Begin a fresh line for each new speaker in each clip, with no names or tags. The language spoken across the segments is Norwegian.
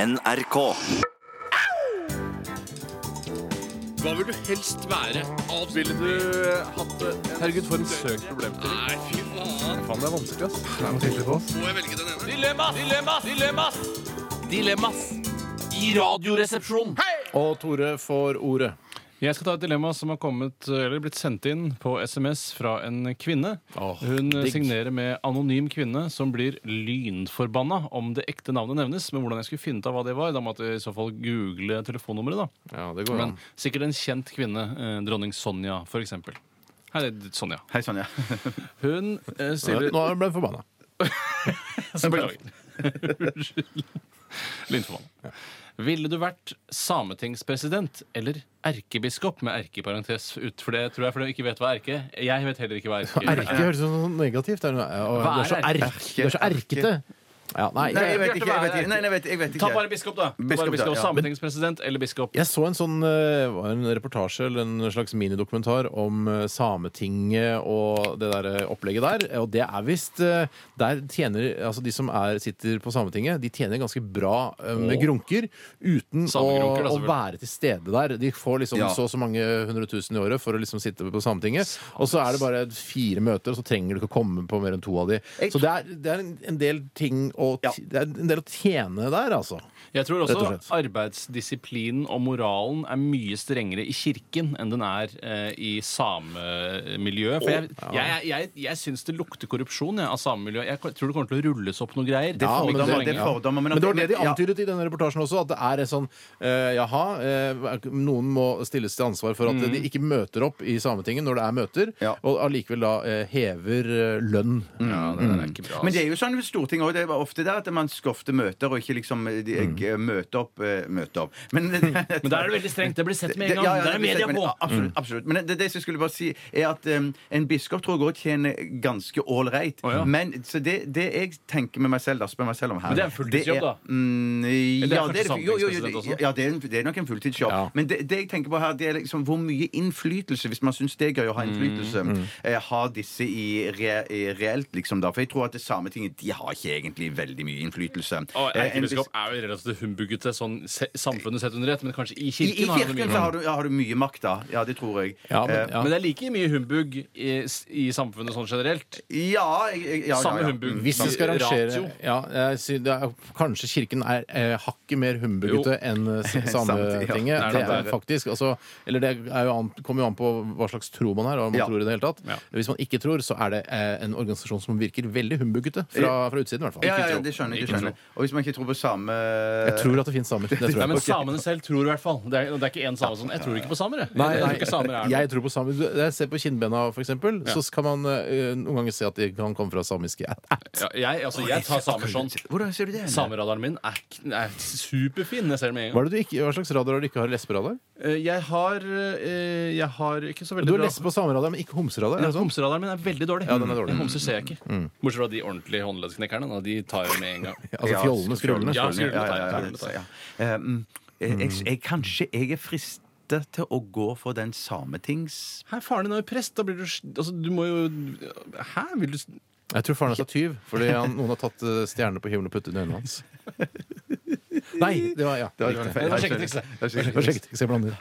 NRK.
Hva vil du helst være? Avspille
Ville du hatt det? Herregud, for en søk problemstilling.
Nei, fy faen.
Faen, det er vanskelig, ass.
Må jeg velge den ene? Dilemmas! Dilemmas! Dilemmas! Dilemmas i Radioresepsjonen.
Og Tore får ordet.
Jeg skal ta et dilemma som har kommet, eller blitt sendt inn på SMS fra en kvinne. Hun signerer med 'anonym kvinne', som blir lynforbanna om det ekte navnet nevnes. Men hvordan jeg skulle finne ut av hva det var, da måtte jeg i så fall google telefonnummeret. da.
Ja, det går
Men sikkert en kjent kvinne, eh, dronning Sonja f.eks. Her er det Sonja.
Hei, Sonja.
Hun eh, stiller
Nå ble jeg forbanna.
Unnskyld. Lynformann. Ville du vært sametingspresident eller erkebiskop med erke i parentes ut? For det tror jeg, for du ikke vet hva erke er. Jeg vet heller ikke hva erke er.
Erke høres ut som noe negativt. Det er, noe, og,
Hva er
det er så
erke?
erk. Det er så erkete. Ja, nei,
Nei, jeg
jeg,
vet ikke. Jeg vet ikke. Nei, jeg vet, jeg vet
Ta bare
ikke.
biskop, da. Ta
Biskop,
bare biskop,
ja.
Sametingspresident eller biskop.
så en sånn eh, var en reportasje eller en slags minidokumentar om eh, Sametinget og det der eh, opplegget der. Og det er visst eh, Der tjener altså de som er, sitter på Sametinget, de tjener ganske bra eh, med grunker uten å,
Samegrunker, da,
å
selvfølgelig.
være til stede der. De får liksom
Ja.
så og så mange hundre tusen i året for å liksom sitte på Sametinget. Og så er det bare fire møter, og så trenger du ikke komme på mer enn to av de. Så det er, det er en- en del ting å, t- det er en del å tjene der, altså.
Jeg tror
Rett
også
og slett.
arbeidsdisiplinen og moralen er mye strengere i kirken enn den er eh, i samemiljøet. For jeg, jeg, jeg, jeg syns det lukter korrupsjon jeg, av samemiljøet. Jeg tror det kommer til å rulles opp noen greier.
Ja,
Om
men
ikke så
det- det
lenge.
er
fordommer, men
Men
at-
det var det de
ja.
antydet i denne reportasjen også, at det er en sånn eh, Jaha, eh, noen må stilles til ansvar for at de ikke møter opp i Sametinget når det er møter,
Ja.
og allikevel da eh, hever eh, lønn.
Ja, det er ikke bra. altså.
Men det er jo sånn ved Stortinget også, det er ofte der at man skofter møter og ikke liksom eh, de, eh, møte opp. eh, Møte opp. Men,
Mm. Men der er det veldig strengt. Det blir sett med en
Det-
gang.
ja, ja,
Der er
det-
media
men-
på.
Mm.
Absolutt. absolutt. Men det, det som jeg skulle bare si, er at um, en biskop tror jeg også tjener ganske ålreit.
Å, ja.
Men så det, det jeg tenker med meg selv, da, spør meg selv om her
Men det er en fulltidsjobb,
det er-
da.
Mm,
Eller
ja,
er
det er, det-
kanskje
jo, jo, jo,
samtingspresident også?
ja, det er, en- det er nok en fulltidsjobb.
Ja.
Men det, det jeg tenker på her, det er liksom hvor mye innflytelse, hvis man syns det er gøy å ha
Mm,
innflytelse, eh, har disse i, re, i reelt, liksom, da. For jeg tror at det Sametinget, de har ikke egentlig veldig mye innflytelse.
Og
Eh, en
Erkebiskop er jo relativt humbuggete sånn se- samfunnet sett under ett, men kanskje i
I, I
kirken. har han det
kirken
mye
så har du, ja, har du mye makt, da. Ja, det tror jeg.
Ja, men-
Eh,
ja.
Men det er like mye humbug i, i samfunnet sånn generelt.
Ja, jeg- jeg- ja, Mm. ja, ja.
Samme humbug.
Hvis jeg skal rangere
Ratio.
ja, jeg sy- det er, Kanskje Kirken er eh, hakket mer humbuggete enn eh, s-
Sametinget,
Sametinget.
ja.
Det
Nei,
er
det er-
faktisk altså, Eller det er jo an, kommer jo an på hva slags tro man er, og hva man
Ja.
tror i det hele tatt.
Ja.
Hvis man ikke tror, så er det eh, en organisasjon som virker veldig humbuggete fra, fra utsiden, i hvert fall.
Ja, ja, ja,
tro.
det skjønner jeg.
Ikke
det skjønner jeg. Og hvis man ikke tror på samme
Jeg tror at det finnes samer. Det tror
Nei,
jeg.
men samene selv tror i hvert fall. Det er, det er ikke én same som Jeg tror ikke på samer, jeg.
Nei,
jeg tror
nei,
ikke samer er noe.
jeg tror på samer. Du- Jeg ser på kinnbena, for eksempel, så kan man eh, noen ganger se at de kan komme fra samiske
Ja, jeg, altså, jeg tar samer sånn.
Hvordan ser du det?
Sameradaren min er, k- er superfin. Jeg ser det med en
Hva,
gang.
er det du ikke, hva slags radar har du ikke har? Lesberadar?
Eh, Jeg har, eh, jeg har ikke så
Du
veldig
har lesbe- og sameradar, men ikke homseradar? er
Ja,
det sånn?
Homseradaren min er veldig dårlig.
Ja, den er dårlig. Mm.
Men Homser ser jeg ikke. Bortsett fra de ordentlige håndleddsknekkerne. da, De tar jeg med en gang.
Altså fjollene, skrullene?
Ja,
Ja, ja, ja, ja,
skrullene tar jeg.
ja. Um, jeg, jeg,
Mm.
jeg, kanskje jeg er fristet til å gå for den sametings...
Hæ, faren din er jo prest. Da blir du s- Altså, du må jo Hæ? Vil du s-
Jeg tror faren hans er tyv, fordi han, noen har tatt eh, stjernene på himmelen og puttet den i øynene hans. Nei, det var ja. Det var,
Det var sjekketrikset.
det var sjekket, ikke se blander.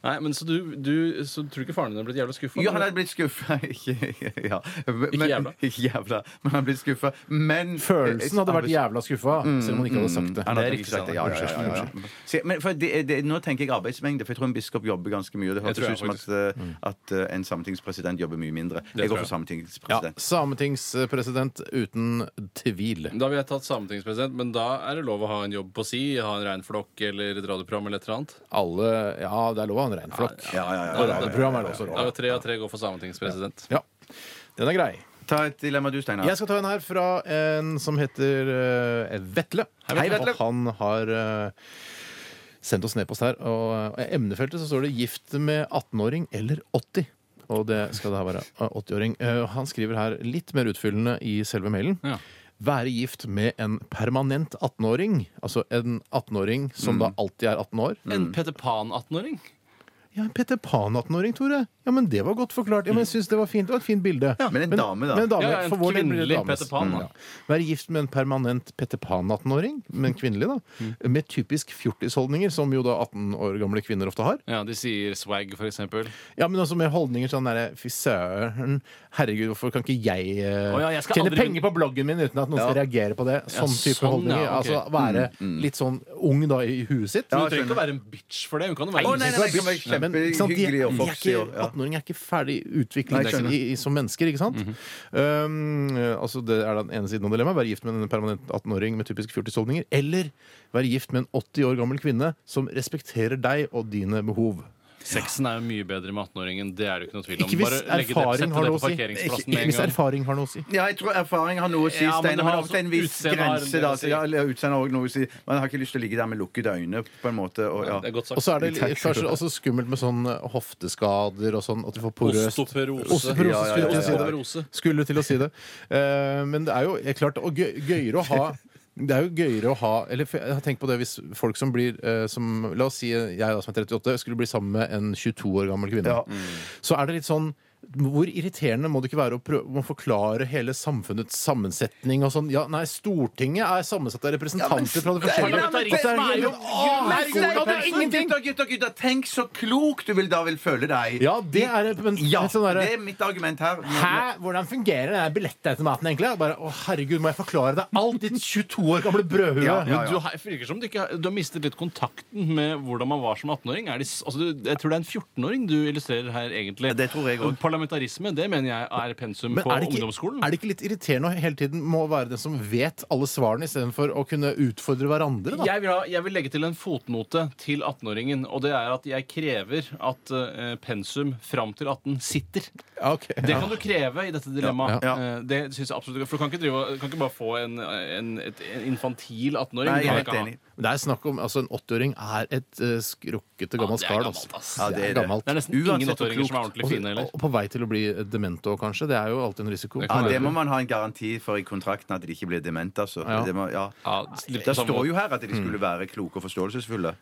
Nei, men så du, du så tror du ikke faren din er blitt jævla skuffa?
Jo, han hadde blitt skuffa. Ikke, ja. men,
jævla.
Ikke jævla, men han hadde blitt skuffa. Men
Følelsen hadde vært jævla skuffa,
Mm,
selv om han ikke hadde sagt det.
Han hadde
Det er
ikke
riktig,
sagt det. Ja, ja, ja, ja, ja. Se, Men for det, det, nå tenker jeg arbeidsmengde, for jeg tror en biskop jobber ganske mye. og Det
tror
høres
jeg
ut som at, eh, at eh, en sametingspresident jobber mye mindre. Jeg
tror
går for
Ja,
sametingspresident.
Sametingspresident uten tvil.
Da ville jeg tatt sametingspresident, men da er det lov å ha en jobb på si, ha en reinflokk eller et radioprogram eller et eller annet.
Alle Ja, det er lov å ha en reinflokk.
Ja, ja, ja,
Og
ja, ja, ja.
radioprogram er det også
Da
lov.
vil tre av tre gå for sametingspresident.
Ja. Den er grei.
Ta et dilemma du, Steinar.
Jeg skal ta en her fra en som heter eh, Vetle.
Hei, Vetle.
Og han har eh, sendt oss en e-post her. Og eh, i emnefeltet så står det 'gift med 18-åring eller 80'. Og det skal det her være. eh, 80-åring. Eh, Han skriver her litt mer utfyllende i selve mailen.
Ja.
Være gift med en permanent 18-åring. Altså en 18-åring som da alltid er 18 år.
En Peter Pan-18-åring?
Ja, en Peter Pan 18-åring, Tore. Ja, men det var godt forklart. Ja, men jeg synes det var fint. Det var et fint bilde.
Men en dame, da.
Men en dame,
Ja, ja, en
for vår del blir det
kvinnelig
dames.
Peter Pan, da.
Mm, Være gift med en permanent Peter Pan 18-åring, men kvinnelig, da.
Mm.
Med typisk fjortisholdninger, som jo da 18 år gamle kvinner ofte har.
Ja, De sier swag, for eksempel.
Ja, men også med holdninger sånn derre Fy søren, herregud, hvorfor kan ikke jeg eh,
Å ja, jeg skal
tjene
aldri-
penger på bloggen min uten at noen skal reagere på det? Sånn type
sånn,
holdninger.
ja, ok.
Altså være litt sånn ung da i huet sitt.
Mm, Ja,
Du trenger ikke å
skjønner.
være en bitch for det. Hun kan jo være
Å, nei, nei, nei,
en
det kan være
Nei, men, ikke sant, de,
kjempehyggelig og
de er
foxy.
ikke,
og- ja.
18-åringer er ikke ferdig
Nei,
utviklet
jeg skjønner. Mhm.
i, i, som mennesker, ikke sant? um, altså, det er den ene siden av dilemmaet. Være gift med en permanent 18-åring med typisk fjortisholdninger. Eller være gift med en 80 år gammel kvinne som respekterer deg og dine behov.
Sexen er jo mye bedre med 18-åringen. Det er det jo ikke noe tvil om.
Ikke hvis
Bare legge det,
erfaring
sette
har
det på
noe å si.
parkeringsplassen
Ikke
med en
hvis
gang.
erfaring har noe å si.
Ja, jeg tror erfaring har noe å si,
Ja, men det
Steinar. Men
har
ofte en
også-
viss
utseendet har en
grense,
del
da.
å si.
Så, ja, eller utseendet har også noe å si. Man har ikke lyst til å ligge der med lukkede øyne, på en måte. Og, ja.
Det er godt
Og
sagt.
så er det
Takk.
kanskje også skummelt med sånn hofteskader og sånn, at du får porøst
Osteoporose.
Osteoporose,
Ja, ja,
skulle jeg til å si det.
Osteoporose.
Skulle til å si det. Eh, men det er jo eh, klart og gøy, gøyere å ha det er jo gøyere å ha eller for jeg har tenkt på det hvis folk som blir eh, som, La oss si jeg da som er 38, skulle bli sammen med en 22 år gammel kvinne.
Ja.
Så er det litt sånn hvor irriterende må det ikke være å prøve å forklare hele samfunnets sammensetning og sånn? Ja, nei, Stortinget er sammensatt av representanter fra det forskjellige
Steinar, men Steinar
er jo- Å,
Men
herregud,
Steinar,
da, det er ingenting!
Gutter, gutter, gutter, tenk så klok du vil da vil føle deg.
Ja, det er et, men,
Ja,
et sånn derre-
det er mitt argument her.
Hæ? Hvordan fungerer den billettautomaten egentlig? Bare, å herregud, må jeg forklare deg alt, ditt 22 år gamle brødhue?
Ja, ja.
Du har, virker som du, ikke, har- du har mistet litt kontakten med hvordan man var som 18-åring. Er det s- Altså, du- jeg tror det er en 14-åring du illustrerer her, egentlig.
Det tror jeg også.
Parlamentarisme det mener jeg er pensum
Men
på
er det, ikke,
ungdomsskolen.
er det ikke litt irriterende å hele tiden må være den som vet alle svarene, istedenfor å kunne utfordre hverandre? da?
jeg vil, ha, jeg vil legge til en fotnote til 18-åringen. Og det er at jeg krever at eh, pensum fram til 18 sitter.
Ja, ok.
Det kan du kreve i dette dilemmaet.
Ja,
Eh, Det synes jeg absolutt ikke For Du kan ikke, drive, og- kan ikke bare få en, en, et, en infantil 18-åring.
Nei,
Det
jeg
kan
er
jeg ikke
helt
ha.
enig.
Men Det er snakk om, altså En 80-åring er et eh, skrukkete, gammelt
det er
skall.
gammelt,
altså.
ass.
Ja, det er det.
gammelt.
Det er nesten ingen
Uansett hvor
8-åringer som er
klokt.
ordentlig fine heller.
og, og på vei til å bli demento, kanskje. Det er jo alltid en risiko.
Det
Ja,
kan
det må man ha en garanti for i kontrakten, at de ikke blir demente. Altså.
Ja.
Det, må, ja.
Ja, Mm. litt
det
på samme
står
måte.
jo her at de skulle være kloke og forståelsesfulle.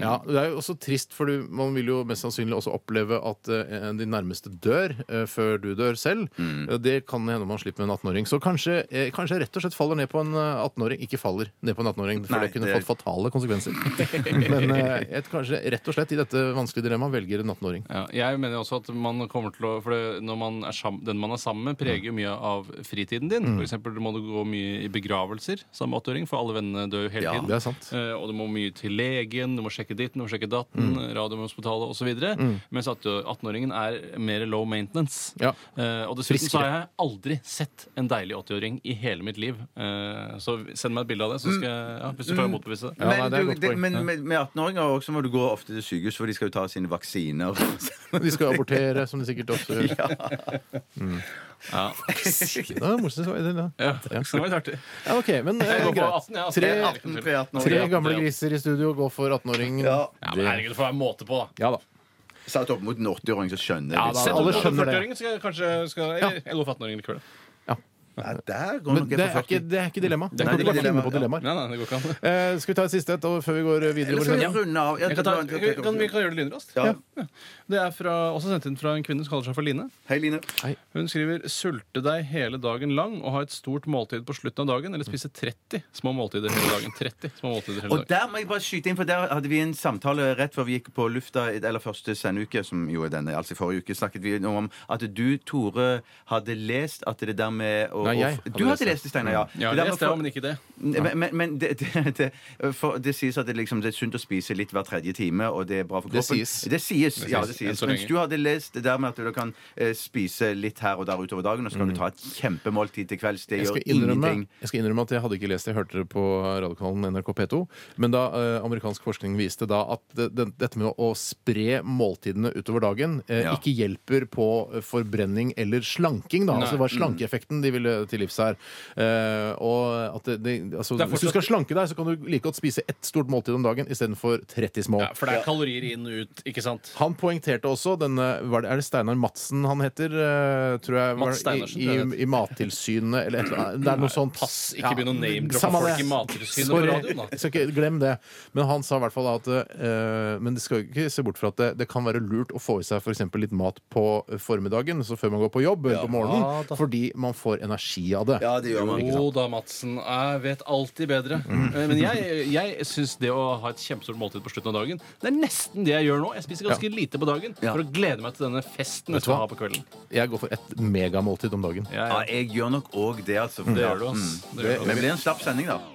Ja, Det er jo også trist, for du, man vil jo mest sannsynlig også oppleve at eh, de nærmeste dør eh, før du dør selv.
Mm.
Eh, Det kan hende man slipper med en 18-åring. Så kanskje, eh, kanskje jeg rett og slett faller ned på en eh, 18-åring. Ikke faller ned på en 18-åring, for
Nei,
det kunne
det-
fått fatale konsekvenser. Men eh, jeg, kanskje rett og slett i dette vanskelige dilemmaet velger en 18-åring.
Ja, jeg mener også at man kommer til å For det, når man er sammen, den man er sammen med, preger
Mm.
jo mye av fritiden din. For eksempel må du gå mye i begravelser som åtteåring, for alle vennene dør jo hele
Ja,
tiden.
det er sant.
Eh, og du må mye til legen, du må sjekke ditten, du må sjekke datten, Radiumhospitalet osv. Mm. Mens at- 18-åringen er mer low maintenance.
Ja.
Eh, og dessuten så
Friskere.
har jeg aldri sett en deilig 80-åring i hele mitt liv. Eh, så send meg et bilde av det, så skal jeg, ja, hvis du klarer å motbevise det.
Ja, nei,
Men,
det er et
du,
godt
det,
poeng.
men med, med 18-åringer også må du gå ofte til sykehus, for de skal jo ta sine vaksiner.
De skal abortere, som de sikkert også gjør.
Ja.
Det var morsomt. så- det- det-
Ja. Det var litt artig.
Ja, OK, men eh,
Jeg går for
greit.
18, ja, altså. 18,
Tre,
ja.
18, 18
tre
år.
gamle griser i studio går for 18-åringen.
Ja.
Ja, men herregud, det får være måte på, da.
Ja da.
Satt opp mot en 80-åring, så skjønner
Ja, da-
jeg liksom litt.
Sett
alle
opp mot
skjønner det.
40-åringen, så skal jeg kanskje skal, eller, Jeg går for 18-åringen likevel.
Ja, der
Men
går nok
det
jeg
er
for
ikke,
40.
det er ikke dilemma. Det kan ikke bare
Nei, det er ikke
finne
dilemma.
på dilemmaer.
Nei, nei, det går ikke an.
Eh, skal vi ta et siste et og- før vi går eh, videre?
Eller skal vi
Morten?
runde av? Ja,
Jeg kan, ta, jeg kan, vi kan gjøre det lynraskt.
Ja.
Ja. Det er fra, også sendt inn fra en kvinne som kaller seg for Line.
Hei, Line.
Hun skriver 'sulte deg hele dagen lang og ha et stort måltid på slutten av dagen', eller spise 30 små måltider hele dagen. 30 små måltider hele dagen.
Og der må jeg bare skyte inn, for der hadde vi en samtale rett før vi gikk på lufta, eller første sendeuke, som jo er denne, altså i forrige uke, snakket vi noe om at du, Tore, hadde lest at det der med å
Nei, jeg
å-
hadde
Du hadde
lest
lest det, Steinar, ja.
Ja,
Det der
les
med
det,
å få-
men ikke det.
Men, men, men det, det, det, for det sies at det, liksom, det er sunt å spise litt hver tredje time, og det er bra for
Det
kroppen.
sies.
Det sies, ja,
sies,
det
enn
sies.
så
Mens
lenge.
du hadde lest det der med at du kan eh, spise litt her og der utover dagen, og så kan du ta et kjempemåltid til kvelds. Det
Jeg skal,
gjør
innrømme,
ingenting.
jeg skal innrømme at jeg hadde ikke lest det. Jeg hørte det på radiokanalen NRK P2. Men da eh, amerikansk forskning viste da at det, det, dette med å spre måltidene utover dagen eh,
Ja.
ikke hjelper på eh, forbrenning eller slanking. Da. Altså, det var slankeeffekten de ville eh, til livs her. Eh, og at det, det, altså,
Det er
Hvis du
fortsatt-
skal slanke deg, så kan du like godt spise ett stort måltid om dagen istedenfor 30 små.
Ja, for det er kalorier inn og ut, ikke sant?
Han poengterte også denne hva Er det- er det Steinar Madsen han heter? eh, Tror jeg,
Mads
var det,
Steinersen,
i,
tror jeg det
i, I Mattilsynet eller et eller annet. Det er noe sånt.
Pass, ikke begynn å name-droppe
samme
folk
det.
i Mattilsynet på
Sorry.
radioen, da.
Jeg skal ikke glem det. Men han sa i hvert fall at eh, Men det skal jo ikke se bort fra at det, det kan være lurt å få i seg f.eks. litt mat på formiddagen, så før man går på jobb på
Ja,
morgenen,
da.
fordi man får energi av det.
Ja, det gjør man.
Jo da, Madsen. Jeg vet alltid bedre. Eh, Men jeg, jeg syns det å ha et kjempestort måltid på slutten av dagen, det er nesten det jeg gjør nå. Jeg spiser ganske lite på dagen
Ja.
for å glede meg til denne festen jeg
du
skal
hva?
ha på kvelden.
Jeg går for et megamåltid om dagen.
Ja,
Ja,
ja.
jeg gjør nok òg det, altså.
Mm. Det gjør du, ass. Det gjør du.
Men det blir en slapp sending, da.